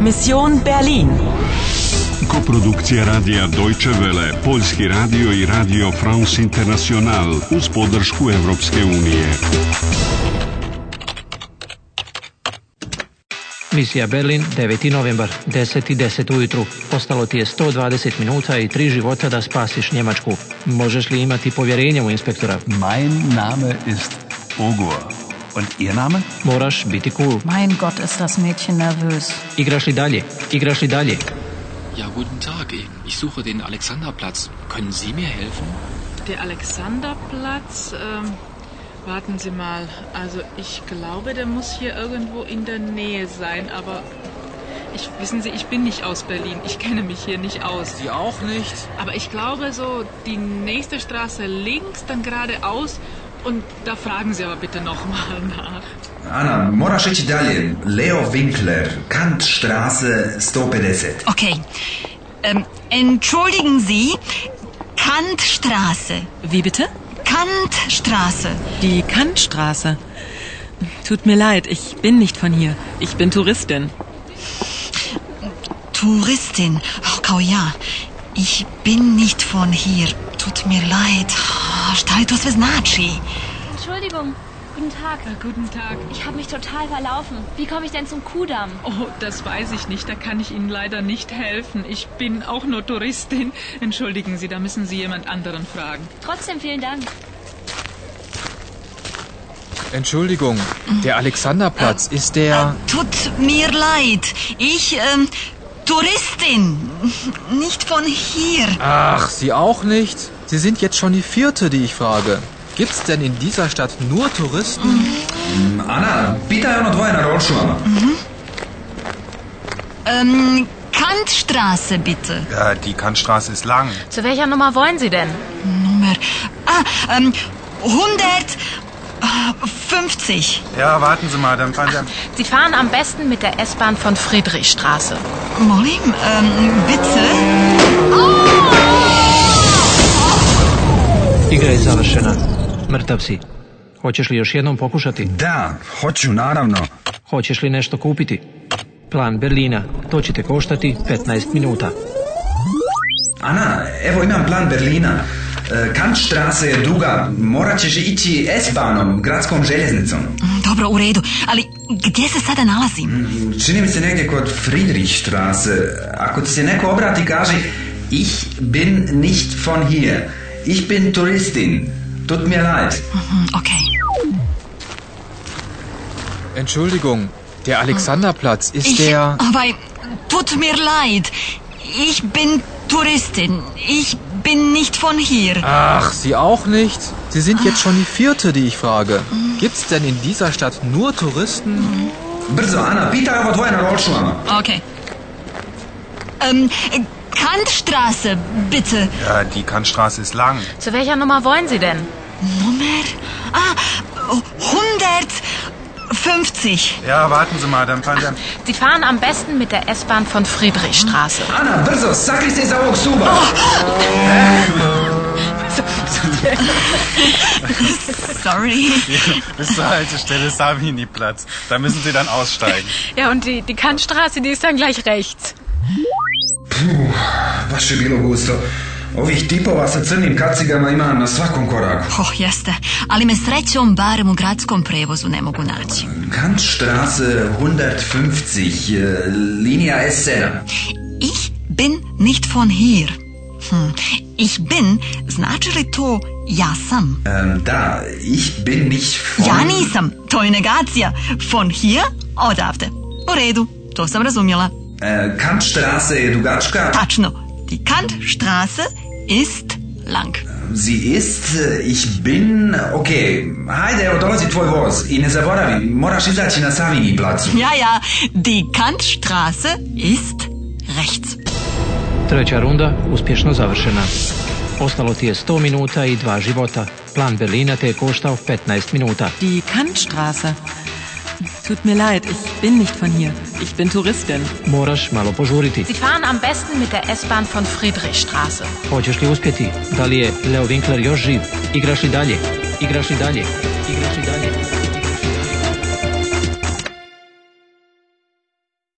Mission Berlin. Koprodukcija radija Deutsche Welle, Poljski radio i radio France International uz podršku Europske unije. Misija Berlin, 9. novembar, 10.10 ujutru. Ostalo ti je 120 minuta i tri života da spasiš Njemačku. Možeš li imati povjerenje u inspektora? Mein Name ist Ogur. Und Ihr Name? Moraš biti cool. Mein Gott, ist das Mädchen nervös. Igraš li dalje? Igraš li dalje? Ja, guten Tag. Ich suche den Alexanderplatz. Können Sie mir helfen? Der Alexanderplatz, ähm, warten Sie mal. Also ich glaube, der muss hier irgendwo in der Nähe sein, aber ich wissen Sie, ich bin nicht aus Berlin. Ich kenne mich hier nicht aus. Sie auch nicht? Aber ich glaube so, die nächste Straße links, dann geradeaus und da fragen Sie aber bitte nochmal nach. Ana, moraš ići dalje. Leo Winkler, Kant Straße 150. Okay. Ähm, entschuldigen Sie, Kantstraße. Wie bitte? Kantstraße. Die Kantstraße. Tut mir leid, ich bin nicht von hier. Ich bin Touristin. Touristin. Oh, Kau, ja. Ich bin nicht von hier. Tut mir leid. Ah, Šta je to sve znači? Entschuldigung. Guten Tag. Äh, guten Tag. Ich habe mich total verlaufen. Wie komme ich denn zum Kudamm? Oh, das weiß ich nicht. Da kann ich Ihnen leider nicht helfen. Ich bin auch nur Touristin. Entschuldigen Sie, da müssen Sie jemand anderen fragen. Trotzdem vielen Dank. Entschuldigung, der Alexanderplatz ist der. Tut mir leid. Ich, ähm, Touristin. Nicht von hier. Ach, Sie auch nicht? Sie sind jetzt schon die vierte, die ich frage. Gibt's denn in dieser Stadt nur Touristen? Ana, pitaj ono dvoje na ročulama. Ähm, Kantstraße, bitte. Ja, die Kantstraße ist lang. Zu welcher Nummer wollen Sie denn? Nummer. Ah, ähm, äh, 150. Ja, warten Sie mal, dann fahren Sie. am- Sie fahren am besten mit der S-Bahn von Friedrichstraße. Molly, ähm, bitte. Igra je završena. Mrtav si. Hoćeš li još jednom pokušati? Da, hoću naravno. Hoćeš li nešto kupiti? Plan Berlina. To će te koštati 15 minuta. Ana, evo imam plan Berlina. E, Kant Straße je duga, morat ćeš ići S-banom, gradskom željeznicom. Mm, Dobro, u redu. Ali gdje se sada Mm. nalazim? Čini mi se negdje kod Friedrich Straße. Ako ti se neko obrati, kaži Ich bin nicht von hier. Ich bin Touristin. Tut mir leid. Mhm, Okej. Entschuldigung, der Alexanderplatz ist Ich, der. aber tut mir leid. Ich bin Touristin. Ich bin nicht von hier. Ach, Sie auch nicht? Sie sind jetzt schon die vierte, die ich frage. Gibt's denn in dieser Stadt nur Touristen? Brzo, Ana, pitaj ovo dvoje na ročulama. Okay. Ähm, Kantstraße, bitte. Ja, die Kantstraße ist lang. Zu welcher Nummer wollen Sie denn? Nummer? Ah, 150. Ja, warten Sie mal, dann fahren Sie. am- Sie fahren am besten mit der S-Bahn von Friedrichstraße. Ana, brzo, sakri se iza ovog suba. Sorry. Bis zur Haltestelle Savini-Platz. Da müssen Sie dann aussteigen. Ja, und die, die Kantstraße, die ist dann gleich rechts. Baš je bilo gusto. Ovih tipova sa crnim kacigama ima na svakom koraku. Oh, jeste. Ali me srećom barem u gradskom prevozu ne mogu naći. Kantstraße 150, äh, Linia S7. Ich bin nicht von hier. Hm. Ich bin, znači li to ja sam? Ähm, da, ich bin nicht von... Ja nisam, to je negacija. Von hier, odavde. U redu, to sam razumjela. Äh, Kantstraße je dugačka. Tačno, die Kantstraße ist lang. Sie ist, äh, ich bin... Okay, hajde, evo, dolazi tvoj voz. I ne zaboravi, moraš izaći na Savini placu. Ja, ja, die Kantstraße ist rechts. Treća runda uspješno završena. Ostalo ti je 100 minuta i dva života. Plan Berlina te je koštao 15 minuta. Die Kantstraße. Tut mir leid, ich bin nicht von hier. Ich bin Touristin. Moraš malo požuriti. Sie fahren am besten mit der S-Bahn von Friedrichstraße. Hoćeš li uspjeti? Da li je Leo Winkler još živ? Igraš li dalje? Igraš li dalje? Igraš li dalje?